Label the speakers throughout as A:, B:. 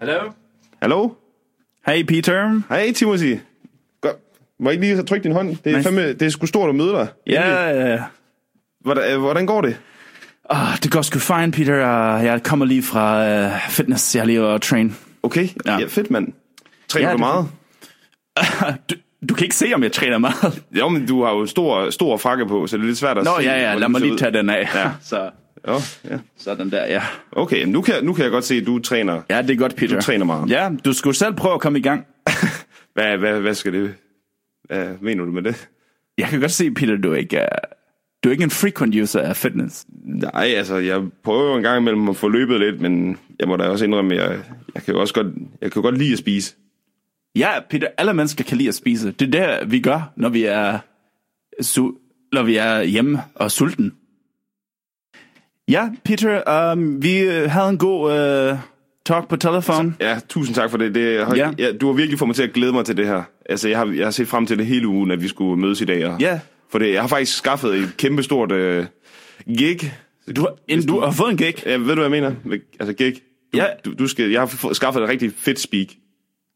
A: Hello?
B: Hallo?
C: Hey Peter.
B: Hej, Timothy. Godt. Må jeg ikke lige trykke din hånd? Det er,
C: Nej.
B: fandme, det er sgu stort at møde dig.
C: Ja, øh,
B: Hvordan, øh, hvordan går det?
C: åh, det går sgu fint, Peter. Øh, Jeg kommer lige fra øh, fitness. Jeg har lige været train.
B: Okay, ja.
C: Ja.
B: ja fedt, mand. Træner
C: Ja,
B: ja, du
C: det er
B: meget?
C: Du, du kan ikke se, om jeg træner meget.
B: Jo, men du har jo stor, stor frakke på, så det er lidt svært at
C: Nå
B: se.
C: ja, ja,
B: hvordan
C: lad
B: du
C: mig
B: ser
C: lige
B: ud.
C: tage den af.
B: Ja.
C: Så,
B: Jo, ja.
C: sådan der, ja.
B: Okay, nu kan, nu kan jeg godt se, at du træner.
C: Ja, det er godt, Peter.
B: Du træner meget.
C: Ja, du skulle selv prøve at komme i gang.
B: Hvad, hvad, hvad skal det... Hvad mener du med det?
C: Jeg kan godt se, Peter, du er ikke, øh, du er ikke en frequent user af fitness.
B: Nej, altså, jeg prøver jo en gang imellem at få løbet lidt, men jeg må da også indrømme, at jeg, jeg kan jo også godt, jeg kan jo godt lide at spise.
C: Ja, Peter, alle mennesker kan lide at spise. Det er det, vi gør, når vi er, su- når vi er hjemme og sulten. Ja, Peter, um, vi øh, havde en god uh, talk på telefon.
B: Ja, tusind tak for det. det har, ja.
C: Ja.
B: Ja, du har virkelig fået mig til at glæde mig til det her. Altså, jeg har, jeg har set frem til det hele ugen, at vi skulle mødes i dag. Og,
C: Ja.
B: For det, jeg har faktisk skaffet et kæmpestort øh, gig.
C: Du, har- en, du har fået en gig.
B: Ja, ved du, hvad jeg mener? Altså, gig. Du,
C: Ja.
B: du, du skal, jeg har fået, skaffet et rigtig fedt speak.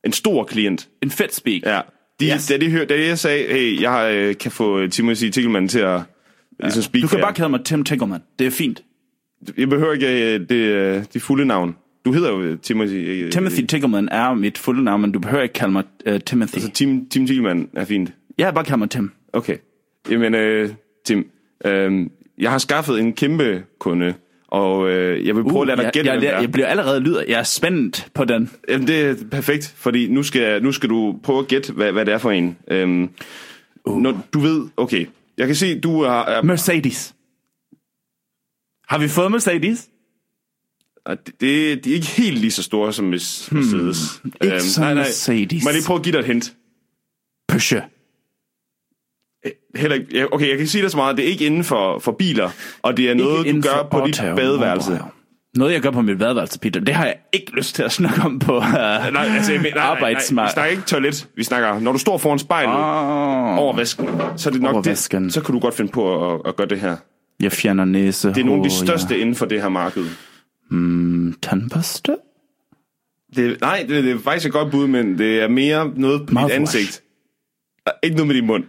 B: En stor klient.
C: En fedt speak.
B: Ja. De, yes.
C: Yes.
B: da, de hør, da jeg sagde, hey, jeg har, øh, kan få Timothy Tickelmann til at ligesom speak
C: Du kan
B: her."
C: bare kalde mig Tim Tickleman. Det er fint.
B: Jeg behøver ikke øh, det, øh, de fulde navn. Du hedder jo øh, Timothy... øh,
C: Timothy
B: øh,
C: Tickleman er mit fulde navn, men du behøver ikke kalde mig uh, Timothy.
B: Så Altså, Tim, Tim Tickelmann er fint.
C: Jeg bare kalde mig Tim.
B: Okay. Jamen, øh, Tim, øh, jeg har skaffet en kæmpe kunde, og øh, jeg vil prøve uh, at lade dig
C: jeg,
B: gætte,
C: jeg,
B: hvem det
C: jeg,
B: er.
C: jeg bliver allerede lyder. Jeg er spændt på den.
B: Jamen, det er perfekt, fordi nu skal, nu skal du prøve at gætte, hvad, hvad det er for en. Øhm, uh. Når du ved... Okay, jeg kan se, du har... Er,
C: Mercedes. Har vi fået Mercedes?
B: er, det, de er ikke helt lige så store som Mercedes. Hmm.
C: ikke som Mercedes.
B: Må jeg lige prøve at give dig et hint?
C: Peugeot.
B: Heller ikke, ja, okay, jeg kan sige dig så meget. Det er ikke inden for, for biler, og det er noget, du
C: inden
B: gør
C: for
B: på dit
C: Otto.
B: badeværelse.
C: Noget, jeg gør på mit badeværelse, Peter, det har jeg ikke lyst til at snakke om på uh,
B: Nej, altså, jeg mener- nej, nej, nej, nej, vi
C: arbejdsmarkedet.
B: snakker ikke toilet. Vi snakker, når du står foran spejlet oh.
C: Åh,
B: over vasken, så er det
C: Over
B: nok
C: vasken.
B: det, så kan du godt finde på at, at gøre det her.
C: jeg fjerner næse.
B: Det er nogle af de største inden for det her marked.
C: Ja. Tandpasta?
B: Det, nej, det, det er faktisk et godt bud, men det er mere noget på dit
C: Mouthwash.
B: ansigt. Og Ikke noget med din mund.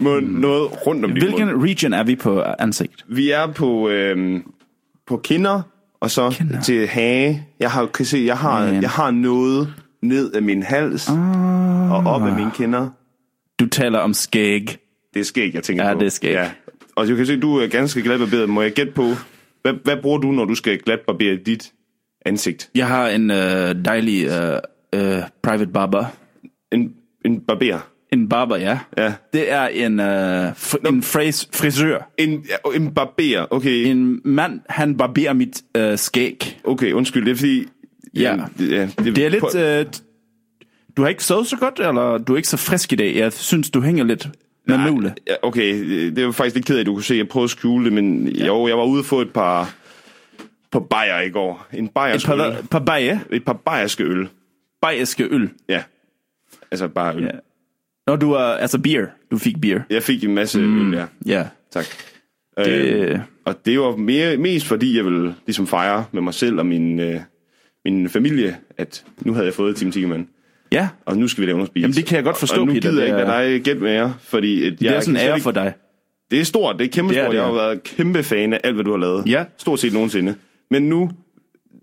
B: Men noget rundt om din
C: Mm. Hvilken
B: mund.
C: region er vi på øh, ansigt?
B: Vi er på, øhm, på kinder, og så kinder.
C: Kinder.
B: til hage. Jeg har, kan se, jeg har,
C: Man.
B: jeg har noget ned af min hals ah. og op af mine kinder.
C: Du taler om skæg.
B: Det er skæg, jeg tænker
C: Ja,
B: på.
C: det er skæg.
B: Og du kan se, du er ganske glatbarberet. Må jeg gætte på, hvad, hvad bruger du, når du skal glatbarbere dit ansigt?
C: Jeg har en øh, dejlig øh, øh, private barber.
B: En, en barber?
C: En barber, ja.
B: Ja.
C: Det er en, øh, fr- en fris- frisør.
B: En, ja, en barber, okay. En...
C: En mand, han barberer mit øh, skæg.
B: Okay, undskyld, det er fordi...
C: Ja.
B: ja
C: Det er lidt... Øh, t- du har ikke sovet så godt, eller du er ikke så frisk i dag. Jeg synes, du hænger lidt med mule.
B: Ja, okay, øh, det var faktisk lidt ked af, at du kunne se, at jeg prøvede at skjule det, men ja. jo, jeg var ude for et par, par bajer i går. En
C: Et par,
B: bajerske øl.
C: hvad? par baje.
B: Et par bajerske øl,
C: Bajerske øl.
B: ja. Altså bare øl. Ja.
C: Ja. Når du er... Altså beer. Du fik beer.
B: Jeg fik en masse mm. øl, ja.
C: Ja.
B: Tak.
C: Det-
B: Øh, og det var mere, mest fordi, jeg ville ligesom fejre med mig selv og min, øh, min familie, at nu havde jeg fået Tim Tigerman.
C: Ja.
B: Og nu skal vi lave noget spise.
C: Jamen, det kan jeg godt forstå,
B: og nu
C: Peter.
B: gider jeg
C: Det
B: ikke
C: er-
B: lade dig gætte med jer, fordi... at
C: Det
B: jeg
C: er sådan en
B: kan slet
C: ære
B: ikke-
C: for dig.
B: Det er stort, det er kæmpe
C: Det er
B: stort.
C: det,
B: Jeg
C: ja.
B: har været kæmpe fan af alt, hvad du har lavet.
C: Ja.
B: Stort set nogensinde. Men nu,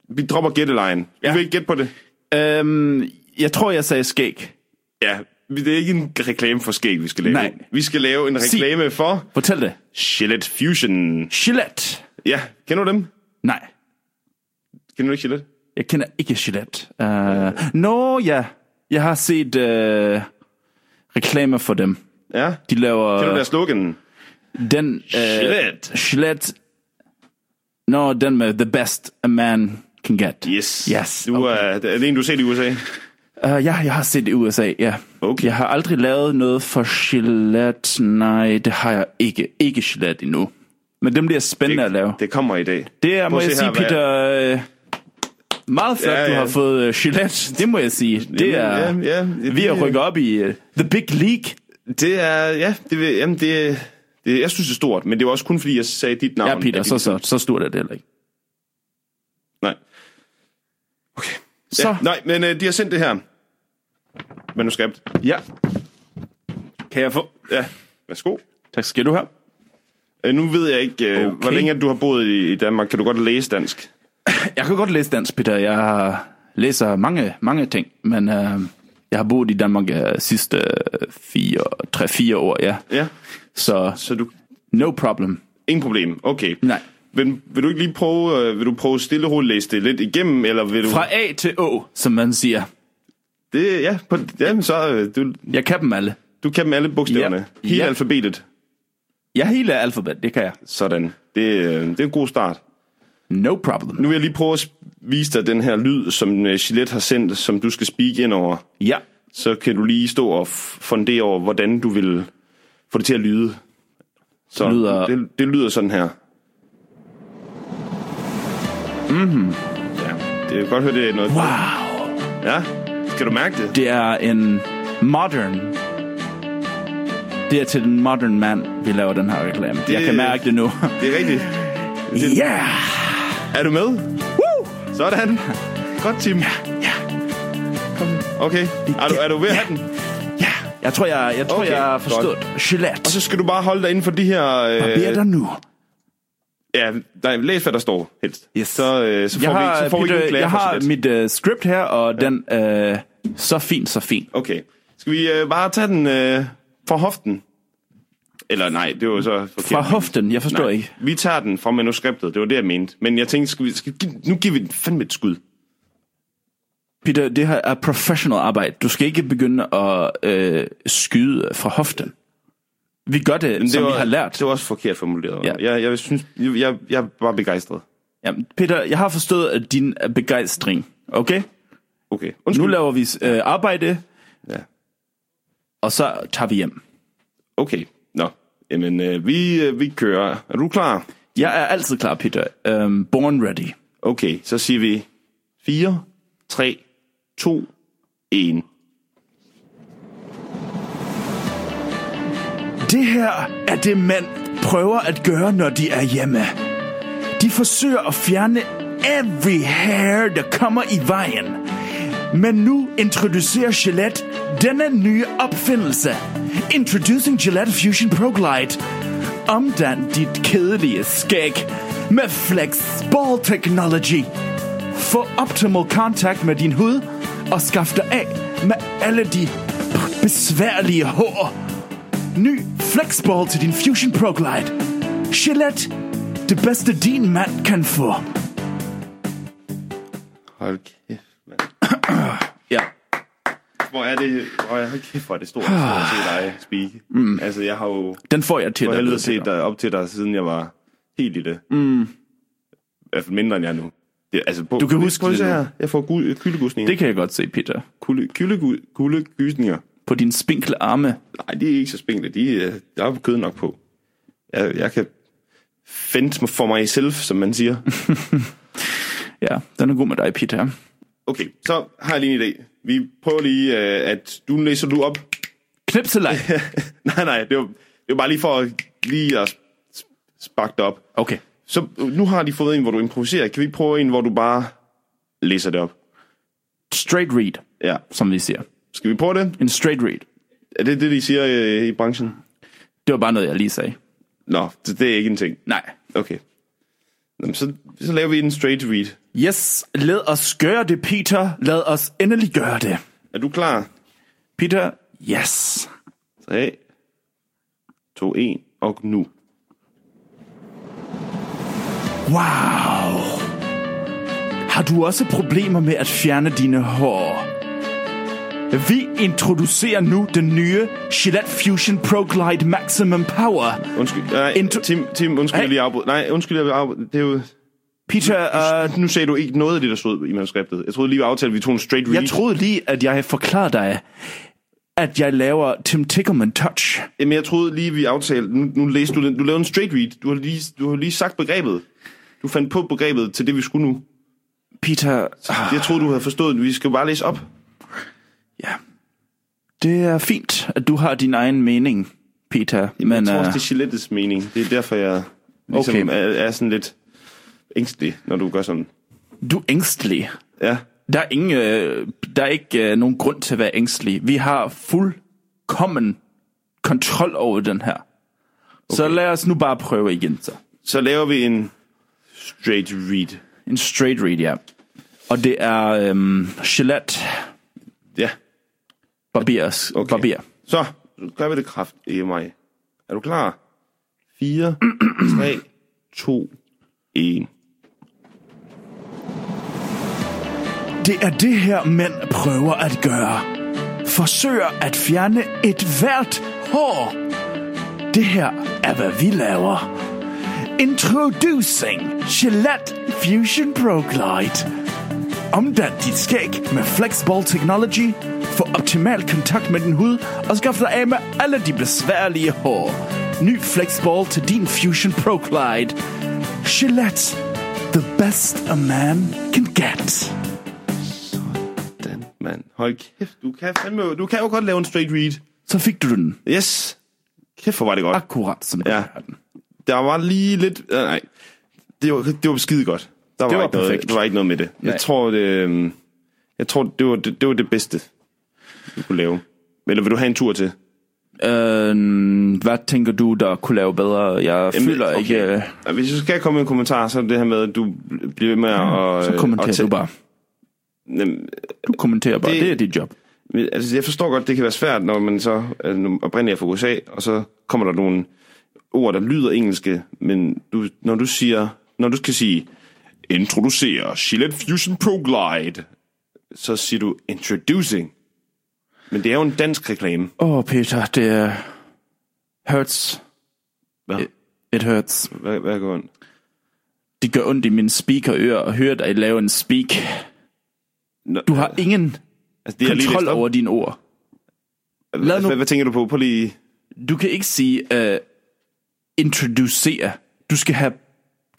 B: vi dropper gættelejen. Ja. Du
C: Ja.
B: vil ikke gætte på det?
C: Øhm, jeg tror, jeg sagde skæg.
B: Ja, vi- det er ikke en reklame for skæg, vi skal lave.
C: Nej.
B: Vi skal lave en
C: Sig.
B: reklame for
C: Fortæl det.
B: Gillette Fusion.
C: Gillette.
B: Ja, kender du dem?
C: Nej.
B: Kender du ikke Gillette?
C: Jeg kender ikke Gillette. Uh, Nå ja, jeg har set uh, reklamer for dem.
B: Ja.
C: De laver
B: Kender du deres slogan?
C: den... Uh,
B: Gillette.
C: Gillette. Nå, den med the best a man can get.
B: Yes.
C: Yes,
B: Du er, er det en, du har set i USA?
C: Uh, ja, jeg har set det i USA, ja.
B: Okay.
C: Jeg har aldrig lavet noget for Gillette. Nej, det har jeg ikke. Ikke Gillette endnu. Men dem bliver spændende at lave.
B: Det kommer i dag.
C: Det er,
B: Prøv
C: må
B: at
C: jeg
B: se
C: sige,
B: her, hvad-
C: Peter... øh, Meget flot,
B: Ja,
C: ja, ja.
B: ja.
C: du har fået øh, Gillette. Det må jeg sige. Det er...
B: Jamen, ja, ja, det-
C: vi er rykket op i øh, The Big League.
B: Det er, ja, det, vil- jamen, det, det, jeg synes, det er stort, men det var også kun, fordi jeg sagde dit navn.
C: Ja, Peter,
B: at
C: så,
B: dit-
C: så, så stort er det heller ikke.
B: Nej.
C: så...
B: Ja, nej, men øh, de har sendt det her manuskript.
C: Ja. Kan jeg få...
B: Ja, værsgo.
C: Tak skal du have.
B: Øh, nu ved jeg ikke, øh, okay. hvor
C: Okay.
B: længe at du har boet i, i Danmark. Kan du godt læse dansk?
C: Jeg kan godt læse dansk, Peter. Jeg læser mange, mange ting, men øh, jeg har boet i Danmark øh, sidste 3-4 år, ja.
B: Ja,
C: Så
B: så du...
C: no problem.
B: Ingen problem. Okay.
C: Nej.
B: Vil, vil du ikke lige prøve, øh, vil du prøve stille og roligt læse det lidt igennem, eller vil du...
C: Fra A til Å, som man siger.
B: Det, ja, på, jamen, så, øh, du,
C: Jeg kan dem alle.
B: du kan dem alle bogstaverne.
C: Ja.
B: Ja. Hele
C: Ja.
B: ja. alfabetet.
C: Jeg er hele alfabet, det kan jeg.
B: Sådan. Det, øh, det er en god start.
C: No problem.
B: Nu vil jeg lige prøve at s- vise dig den her lyd, som øh, Gillette har sendt, som du skal speak ind over.
C: Ja.
B: Så kan du lige stå og f- fundere over, hvordan du vil få det til at lyde. Så det
C: lyder-
B: Det, det lyder sådan her. Mm-hmm.
C: Mhm.
B: Ja, det er godt høre, det er noget...
C: Wow.
B: Ja, kan du mærke det?
C: Det er en modern... Det er til den modern mand, vi laver den her reklame. Det... Jeg kan mærke det nu.
B: Det er rigtigt.
C: yeah!
B: Er du med?
C: Woo!
B: Sådan. Godt, Tim.
C: Ja,
B: Okay. Er du, er du ved at have den?
C: ja. Jeg tror, jeg, jeg, tror,
B: Okay,
C: okay, jeg har forstået. Gillette.
B: Og så skal du bare holde dig inden for de her...
C: Hvad er
B: Øh,
C: der nu?
B: ja, nej, læs, hvad der står helst.
C: Yes.
B: Så, øh, så får
C: Jeg
B: vi, ikke-
C: har,
B: så får vi ikke
C: Peter,
B: en klage
C: jeg
B: fra
C: har
B: Gillette.
C: mit uh, script her, og ja. den... Uh, så fint, så fint.
B: Okay. Skal vi øh, bare tage den øh, fra hoften? Eller nej, det var så forkert.
C: Fra hoften, jeg forstår
B: Nej,
C: ikke.
B: Vi tager den fra manuskriptet, det var det, jeg mente. Men jeg tænkte, skal vi, skal, vi- nu giver vi den fandme et skud.
C: Peter, det her er professional arbejde. Du skal ikke begynde at øh, skyde fra hoften. Vi gør det, det som
B: var,
C: vi har lært.
B: Det var også forkert formuleret.
C: Ja.
B: Ja. Jeg, jeg, synes, jeg, jeg, jeg er bare begejstret.
C: Jamen, Peter, jeg har forstået øh, din øh, begejstring, okay?
B: Okay,
C: Nu
B: undskyld.
C: laver vi øh, arbejde,
B: ja.
C: og så tager vi hjem.
B: Okay, nå. Jamen, øh, vi, øh, vi kører. Er du klar?
C: Jeg er altid klar, Peter. Um, born ready.
B: Okay, så siger vi 4, 3, 2, 1.
C: Det her er det, mænd prøver at gøre, når de er hjemme. De forsøger at fjerne every hair, der kommer i vejen. Men nu introducerer Gillette denne nye opfindelse. Introducing Gillette Fusion Pro Glide. Omdan dit kedelige skæg med Flexball Technology. Få optimal kontakt med din hud og skaf dig af med alle de besværlige hår. Ny Flexball til din Fusion Pro Glide. Gillette. Det bedste din mand kan få.
B: Hold kæft, mand.
C: Ja.
B: Hvor er det, hvor er, hold kæft, hvor er det stort, stort at se dig speak. Mm. Altså, jeg har jo
C: Den får jeg til
B: for helvede
C: dig.
B: set dig op til dig, siden jeg var helt i det. Mm. I hvert fald mindre end jeg er nu. Det, altså, på,
C: Du kan huske
B: prøv,
C: det
B: det.
C: nu.
B: Her. Jeg får gu- kuldegysninger.
C: Det kan jeg godt se, Peter.
B: Kulde, kulde, kuldegysninger.
C: På din spinkle arme.
B: Nej, de er ikke så spinkle. De, er- der er kød nok på. Jeg, jeg kan fente for mig selv, som man siger.
C: Ja, den er god med dig, Peter.
B: Okay, så har jeg lige en idé. Vi prøver lige, øh, at du læser du op.
C: Knip til dig.
B: nej, nej, det var, det var bare lige for at, lige at sp- sparke det op.
C: Okay.
B: Så øh, nu har de fået en, hvor du improviserer. Kan vi prøve en, hvor du bare læser det op?
C: Straight read,
B: Ja.
C: som vi siger.
B: Skal vi prøve det?
C: En straight read.
B: Er det det, de siger øh, i branchen?
C: Det var bare noget, jeg lige sagde.
B: Nå, det, det er ikke en ting.
C: Nej.
B: Okay. Nå, men så, så laver vi en straight read.
C: Yes, lad os gøre det, Peter. Lad os endelig gøre det.
B: Er du klar?
C: Peter, yes.
B: 3, 2, 1, og nu.
C: Wow. Har du også problemer med at fjerne dine hår? Vi introducerer nu den nye Gillette Fusion Pro Glide Maximum Power.
B: Undskyld, nej,
C: Intro-
B: Tim, Tim, undskyld,
C: Hey.
B: jeg lige afbrød. Nej, undskyld, jeg afbrød. Det er jo...
C: Peter, øh,
B: Nu sagde du ikke noget af det, der stod i manuskriptet. Jeg troede lige, vi aftalte, at vi tog en straight read.
C: jeg troede lige, at jeg havde forklaret dig, at jeg laver Tim Tickerman Touch.
B: Jamen, jeg troede lige, vi aftalte... Nu, nu læste du den. Du lavede en straight read. Du har, lige, du har lige sagt begrebet. Du fandt på begrebet til det, vi skulle nu.
C: Peter,
B: Jeg troede, du havde forstået. Vi skal bare læse op.
C: ja. Det er fint, at du har din egen mening, Peter.
B: Men,
C: Men,
B: jeg tror
C: øh,
B: også, det er Gillettes mening. Det er derfor, jeg ligesom
C: Okay.
B: okay. er, er sådan lidt ængstelig, når du gør sådan.
C: du er ængstelig.
B: Ja.
C: Der er, ingen, øh, der er ikke øh, nogen grund til at være ængstelig. Vi har fuldkommen kontrol over den her. Okay. Så lad os nu bare prøve igen så.
B: Så laver vi en straight read.
C: En straight read, ja. Og det er øhm, Gillette
B: Ja,
C: Barbers, okay. Barber.
B: så gør vi det kraft i mig. Er du klar? 4, 3, 2, 1.
C: Det er det her, mænd prøver at gøre. Forsøger at fjerne et hvert hår. Det her er, hvad vi laver. Introducing Gillette Fusion Pro Glide. Omdan dit skæg med Flexball Technology. Få optimal kontakt med din hud og skaf dig af med alle de besværlige hår. Ny Flexball til din Fusion Pro Glide. Gillette. The best a man can get.
B: Den mand. Hold kæft, du kan, fandme, du kan jo godt lave en straight read.
C: Så fik du den.
B: Yes. Kæft, hvor var det godt.
C: Akkurat som du
B: Ja.
C: har den.
B: Der var lige lidt... øh, Nej, det var, det var skide godt. Der var,
C: var
B: ikke noget,
C: perfekt.
B: der var ikke noget med det.
C: Nej.
B: Jeg tror, det, øhm, jeg tror det, var, det, det var det bedste, du kunne lave. Eller vil du have en tur til?
C: Øh, hvad tænker du, der kunne lave bedre? Jeg Jamen, føler okay. ikke... Øh,
B: Og Hvis jeg skal komme med en kommentar, så er det det her med, at du bl- bliver ved med at... og,
C: så kommenterer
B: og tæ-
C: du bare.
B: Nem-
C: Du kommenterer bare. Det,
B: Det-
C: det er dit job.
B: Men, Altså, jeg forstår godt, det kan være svært, når man så altså, nu oprindeligt er fra USA, og så kommer der nogle ord, der lyder engelske, men du, når du siger, når du skal sige, introducere Gillette Fusion Pro Glide, så siger du introducing. Men det er jo en dansk reklame.
C: Åh, oh, Peter, det er... hurts.
B: Hvad,
C: Øh, It hurts.
B: hvad, hvad går ondt?
C: Det gør ondt i mine speakerører at høre dig lave en speak.
B: Nå,
C: Du har ingen
B: altså, det er lige
C: kontrol
B: læst op.
C: over dine ord. Lad nu-
B: Hvad, hvad tænker du på? På lige...
C: Du kan ikke sige uh, introducere. Du skal have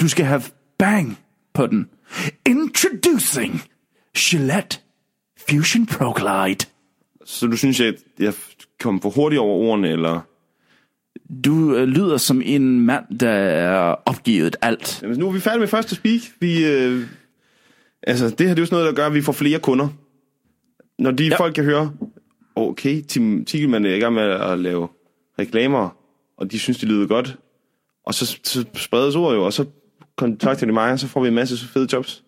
C: du skal have bang på den. Introducing Gillette Fusion Pro Glide.
B: Så du synes, jeg, jeg kom for hurtigt over ordene, eller...
C: Du uh, lyder som en mand der er opgivet alt.
B: Jamen, nu er vi færdige med første speak. Vi, øh, altså, det her det er jo sådan noget, der gør, at vi får flere kunder. Når de ja. folk kan høre, okay, Tim Tigelmann er i gang med at lave reklamer, og de synes, det lyder godt. Og så, så spredes ordet jo, og så kontakter de mig, og så får vi en masse fede jobs.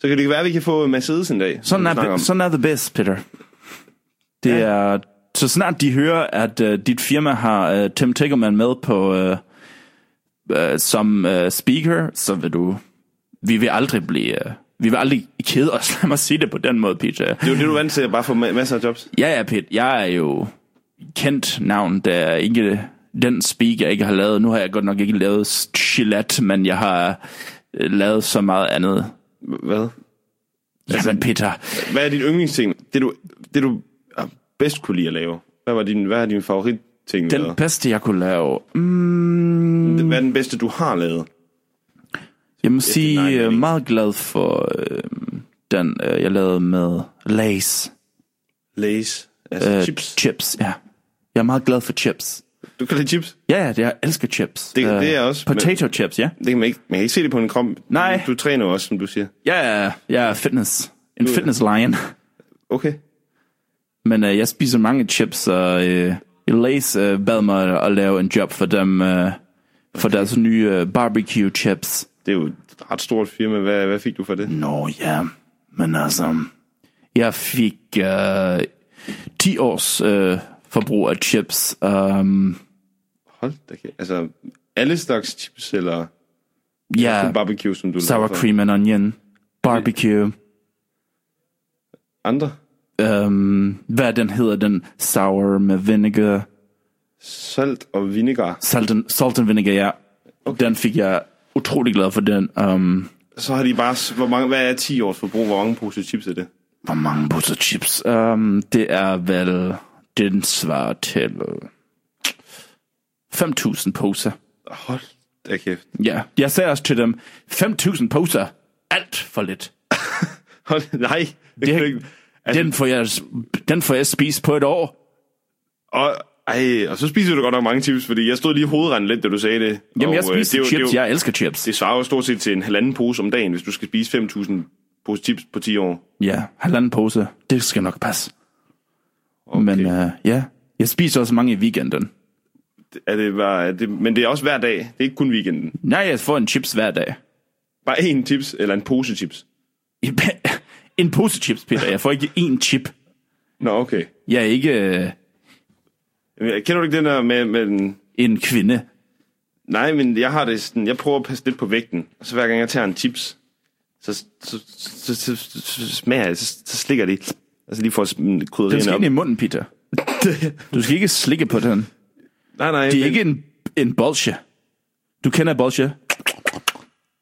B: Så kan det være, at vi kan få Mercedes en dag. som
C: Sådan
B: vi snakker
C: er,
B: om.
C: sådan er the best, Peter. Det ja. er, så snart de hører, at uh, dit firma har uh, Tim Tickerman med på uh, uh, som uh, speaker, så vil du... Vi vil aldrig blive... Uh, vi vil aldrig kede os, lad mig sige det på den måde, Peter.
B: Det er jo det, du er vant til, at bare få ma- masser af jobs.
C: Ja, ja, Peter, jeg er jo kendt navn, der er ikke den speak, jeg ikke har lavet. Nu har jeg godt nok ikke lavet Gillette, men jeg har øh, lavet så meget andet.
B: Hvad?
C: Jamen, Peter,
B: Hvad er din yndlingsting? Det du, det, du øh, bedst kunne lide at lave? Hvad, var din, hvad er din favoritting?
C: den bedste, jeg kunne lave... Mm,
B: Hvad er den bedste, du har lavet?
C: Jeg må
B: nej,
C: sige,
B: det er
C: jeg er
B: ikke.
C: meget glad for øh, den, øh, jeg lavede med Lays.
B: Lays. Altså
C: Øh,
B: øh, chips.
C: Chips, ja. Jeg er meget glad for chips.
B: Du kan lide chips.
C: Ja, ja, det- jeg elsker chips. Øh,
B: Det- det er jeg også, men-
C: Potato men... chips, ja.
B: Det kan man, ikke, man kan ikke se det på en krom.
C: Nej.
B: Du træner jo også, som du siger.
C: Ja, ja, jeg er fitness. En fitness lion.
B: Okay.
C: Men øh, jeg spiser mange chips, og øh, Lays øh, bad mig at lave en job for dem, øh, for deres nye øh, barbecue chips.
B: Det er jo et ret stort firma. Hvad, hvad fik du for det?
C: Nå ja, men altså, jeg fik øh, 10 års øh, forbrug af chips. Um,
B: Hold da kæft. Altså, alle slags chips, eller
C: ja,
B: barbecue, som du
C: sour
B: laver for
C: cream and onion, barbecue,
B: andre?
C: um, hvad den hedder, den sour med vinegar,
B: Salt og vinegar.
C: salt and, salt and vinegar, ja. Okay. Den fik jeg utrolig glad for den. Um,
B: Så har de bare... s- Hvor mange, hvad er 10 års forbrug? Hvor mange poser chips er det?
C: hvor mange poser chips? Um, det er vel, den svarer til øh, 5.000 poser.
B: Hold da kæft.
C: Ja, jeg sagde også til dem, 5.000 poser, alt for lidt.
B: Hold, nej. Det, kan du ikke. Altså,
C: Den får, jeg, den får jeg spist på et år.
B: Og, ej, og så spiser du godt nok mange chips, fordi jeg stod lige hovedrendet lidt, da du sagde det.
C: Jamen,
B: og,
C: jeg
B: øh, det
C: spiser
B: er jo-
C: chips,
B: det er jo-
C: jeg elsker chips.
B: det svarer jo stort set til en halvanden pose om dagen, hvis du skal spise 5.000 pose chips på 10 år.
C: Ja, halvanden pose. Det skal nok passe. Okay. Men øh, ja, jeg spiser også mange i weekenden.
B: Er det bare, er det, men det er også hver dag. Det er ikke kun weekenden.
C: Nej, jeg får en chips hver dag.
B: Bare en chips, eller en pose chips.
C: En pose chips, Peter. Jeg får ikke én chip.
B: Nå, okay.
C: Jeg er ikke øh,
B: Jamen, Kender du ikke den der med, med den?
C: en kvinde.
B: Nej, men jeg har det sådan, jeg prøver at passe lidt på vægten. Og så hver gang jeg tager en chips, så, så, så, så, så, så smager jeg, så, så slikker jeg lige. Altså lige for at
C: Den
B: krydderierne
C: skal
B: op.
C: ind i munden, Peter. Du skal ikke slikke på den.
B: nej, nej.
C: Det er
B: men-
C: ikke en, en bolsje. Du kender bolsje.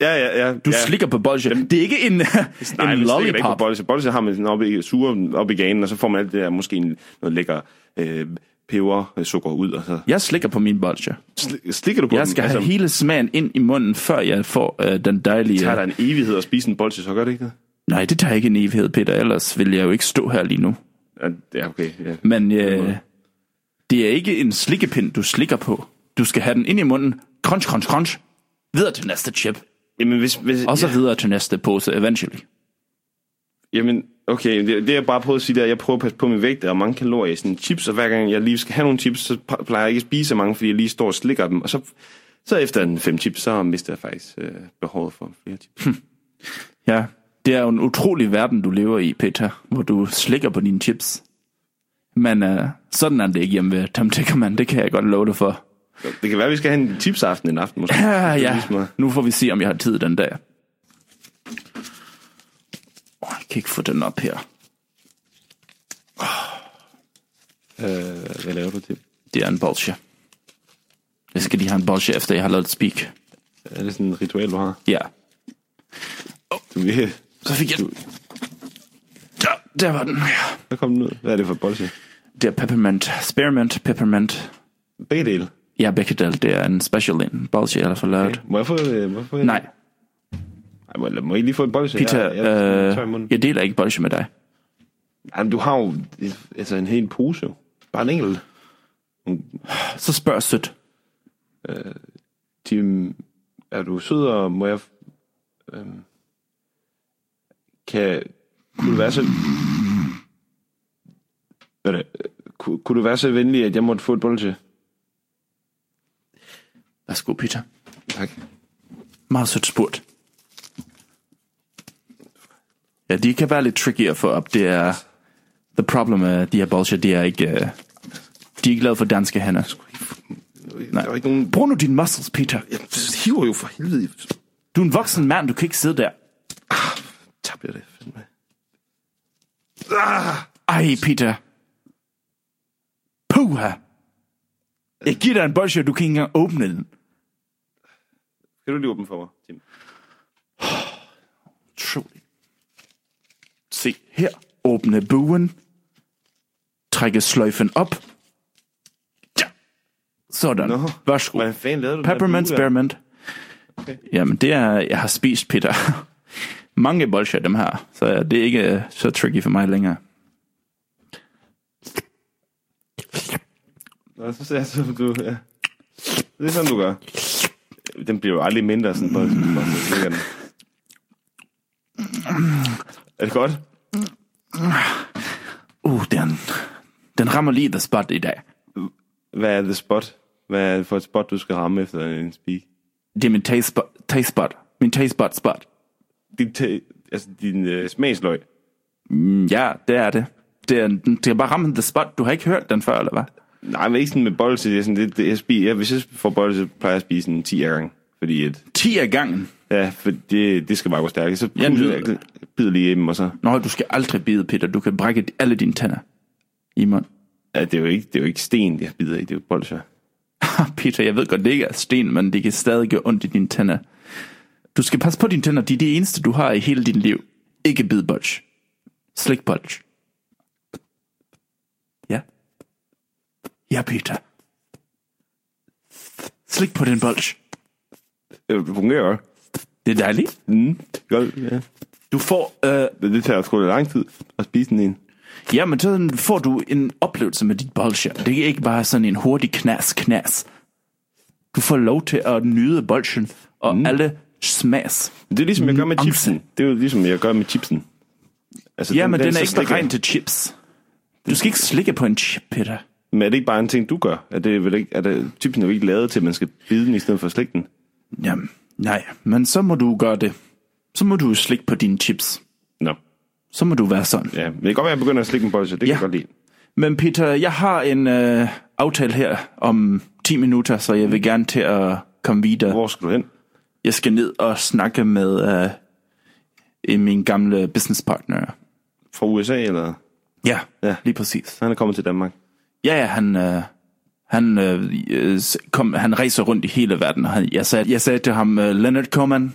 B: Ja, ja, ja.
C: Du
B: ja.
C: ja. slikker på bolsje. Det er ikke
B: Nej,
C: en, en
B: man slikker da ikke på
C: lollipop.
B: bolse. Bolse har man sådan op i, suger op i ganen, og så får man alt det der, måske en, noget lækker øh, peber, øh, sukker ud, og så
C: Jeg slikker på min bolsje.
B: sli- slikker du på
C: Jeg
B: den. Altså,
C: skal have hele smagen ind i munden, før jeg får øh, den dejlige...
B: tager der en evighed at spise en bolse, så gør det ikke det?
C: Nej, det tager ikke en evighed, Peter. Ellers vil jeg jo ikke stå her lige nu.
B: Ja, det er okay. Ja.
C: Men øh, det er ikke en slikkepind, du slikker på. Du skal have den ind i munden. Crunch, crunch, crunch. Videre til næste chip.
B: Jamen, hvis, hvis,
C: Og så
B: ja,
C: videre til næste pose, eventually.
B: jamen, okay, det, det jeg bare prøvede at sige, det er, at jeg prøver at passe på min vægt, der er mange kalorier i sådan en chips, og hver gang jeg lige skal have nogle chips, så pa- plejer jeg ikke at spise så mange, fordi jeg lige står og slikker dem, og så, så efter en fem chips, så mister jeg faktisk øh, behovet for flere chips.
C: Ja, det er jo en utrolig verden, du lever i, Peter, hvor du slikker på dine chips. Men uh, sådan er det ikke hjemme ved Tom Tickerman, det kan jeg godt love dig for.
B: Det kan være, at vi skal have en chipsaften en aften, måske.
C: Ja,
B: Det er
C: ja,
B: ligesom at-
C: nu får vi se, om jeg har tid den dag. Oh, jeg kan ikke få den op her.
B: Øh, hvad laver du til?
C: Det er en bolsje. Jeg skal lige have en bolsje, efter jeg har lavet et speak.
B: Er det sådan et ritual, du har?
C: Ja,
B: Du, ja.
C: så fik jeg den. Der, der var den.
B: Hvad kom den ud? Hvad er det for bolse?
C: Det er peppermint, spearmint, peppermint.
B: Begge dele.
C: Ja, Bechdel, det er en special en bolsje, eller for lavet.
B: Må jeg få... øh, Må jeg få
C: Nej,
B: Ej, må, jeg- må I lige få et bolse?
C: Peter,
B: jeg, jeg,
C: jeg, øh, jeg deler ikke bolsje med dig.
B: Ej, men du har jo et- altså, en hel pose. jo. Bare en enkelt.
C: Så spørg sødt.
B: Tim, er du sød, og må jeg... Øh, kan... Kunne du være så... Hvad er det? Øh, Kunne, kunne du være så venlig, at jeg måtte få et bolse?
C: Værsgo, Peter.
B: Tak.
C: Meget sødt spurgt. Ja, de kan være lidt tricky at få op. Det er... The problem med de her bolsjer, de er ikke... øh, De er ikke lavet for danske hænder.
B: Nej. Der er jo ikke nogen...
C: Brug nu dine muscles, Peter.
B: Jeg hiver jo for helvede i
C: Du er en voksen mand, du kan ikke sidde der.
B: tabte jeg det. Fandme.
C: Ej, Peter. Puha. Jeg giver dig en bolsje, og du kan ikke engang åbne den.
B: Kan du lige åbne for mig, Tim?
C: Utroligt. Se her. Åbne buen. Trække sløjfen op. Ja. Sådan.
B: Nå.
C: Værsgo.
B: Hvordan fanden lavede du
C: Peppermint,
B: den der bue
C: spearmint. Jamen, det er, jeg har spist, Peter. Mange bolsjer, dem her. Så det er ikke øh, så tricky for mig længere.
B: der? Nå, så ser jeg så, du... Ja. Det er sådan, du gør. Den bliver jo aldrig mindre, sådan bare sådan, bare sådan, ligger den. Er det godt?
C: Uh, den, den rammer lige the spot i dag.
B: Hvad er det spot? Hvad er det for et spot, du skal ramme efter en speak?
C: Det er min taste spot. Taste spot. Min taste spot spot.
B: Din, ta- altså, din øh, smagsløg.
C: Mm, Ja, det er det. Det er, den skal bare ramme the spot. Du har ikke hørt den før, eller hvad?
B: Nej, men ikke sådan med bolse. Det er sådan, det, det, jeg spiser, ja, hvis jeg får bolse, så plejer jeg at spise sådan 10 gange. Fordi at,
C: 10 af gangen.
B: ja, for det, det skal bare gå stærkt. Så
C: Jeg
B: puster
C: nyder
B: jeg bider lige hjemme, og så...
C: Nå, du skal aldrig bide, Peter. Du kan brække alle dine tænder. I mund.
B: Ja, det er jo ikke, det er jo ikke sten, jeg bider i. Det er jo bolsjer.
C: Ah, Peter, jeg ved godt, det ikke er sten, men det kan stadig gøre ondt i dine tænder. Du skal passe på dine tænder. De er det eneste, du har i hele dit liv. Ikke bidbotch. Slikbotch. Ja. Ja, Peter. Slik på den bolch.
B: Øh, Det fungerer jo.
C: Det er dejligt.
B: Mm, godt, ja.
C: Du får, øh,
B: Men det tager sgu da lang tid at spise sådan en.
C: ja, men så får du en oplevelse med dit bolsje. Det er ikke bare sådan en hurtig knas, knas. Du får lov til at nyde bolsjen og mm. alle smags.
B: Det er ligesom, jeg gør med
C: Nuance.
B: chipsen. Det er jo ligesom, jeg gør med chipsen. Altså,
C: Ja, men den, er
B: så
C: ikke
B: slikker jeg.
C: ren til chips. Du skal ikke slikke på en chip, Peter.
B: Men er det ikke bare en ting, du gør? Er det vel ikke, er det, chipsen er jo ikke lavet til, at man skal bide den i stedet for at slikke den?
C: Jamen, nej, men så må du gøre det. Så må du slikke på dine chips.
B: Nå,
C: Så må du være sådan.
B: ja. Men det kan godt være, at jeg begynder at slikke en bolse. Det kan
C: Ja.
B: jeg godt lide.
C: Men Peter, jeg har en øh, aftale her om 10 minutter, så jeg vil gerne til at komme videre.
B: Hvor skal du hen?
C: Jeg skal ned og snakke med øh, en- min gamle businesspartner.
B: Fra USA, eller?
C: Ja,
B: Ja.
C: ja, lige præcis.
B: Han er kommet til Danmark.
C: Ja, ja, han, øh, han, øh, øh, kom, han rejser rundt i hele verden. og Han, jeg, sagde, jeg sagde til ham, øh, Leonard Coman,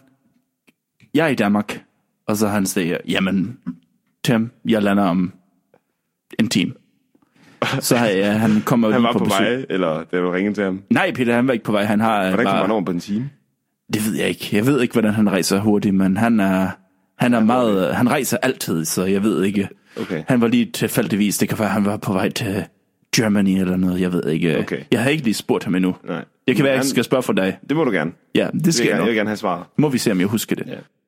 C: jeg er i Danmark. Og så han siger, jamen, Tim, jeg lander om en time. Så øh, han kommer
B: Han
C: lige
B: var på,
C: besøg.
B: vej, eller da du ringede til ham.
C: Nej, Peter, han var ikke på vej. Han har øh,
B: Hvordan kom
C: bare...
B: han over på en time?
C: Det ved jeg ikke. Jeg ved ikke, hvordan han rejser hurtigt, men han er, han er meget... Han rejser altid, så jeg ved ikke.
B: Okay.
C: Han var lige tilfældigvis. Det kan være, han var på vej til Germany eller noget. Jeg ved ikke.
B: Okay.
C: Jeg har ikke lige spurgt ham endnu.
B: Nej.
C: Jeg kan være,
B: Men
C: jeg
B: han-
C: skal spørge for dig.
B: Det må du gerne.
C: Ja, det
B: Jeg vil
C: skal jeg
B: gerne, jeg
C: nok.
B: vil gerne have svaret.
C: Må vi se, om jeg husker det.
B: Ja.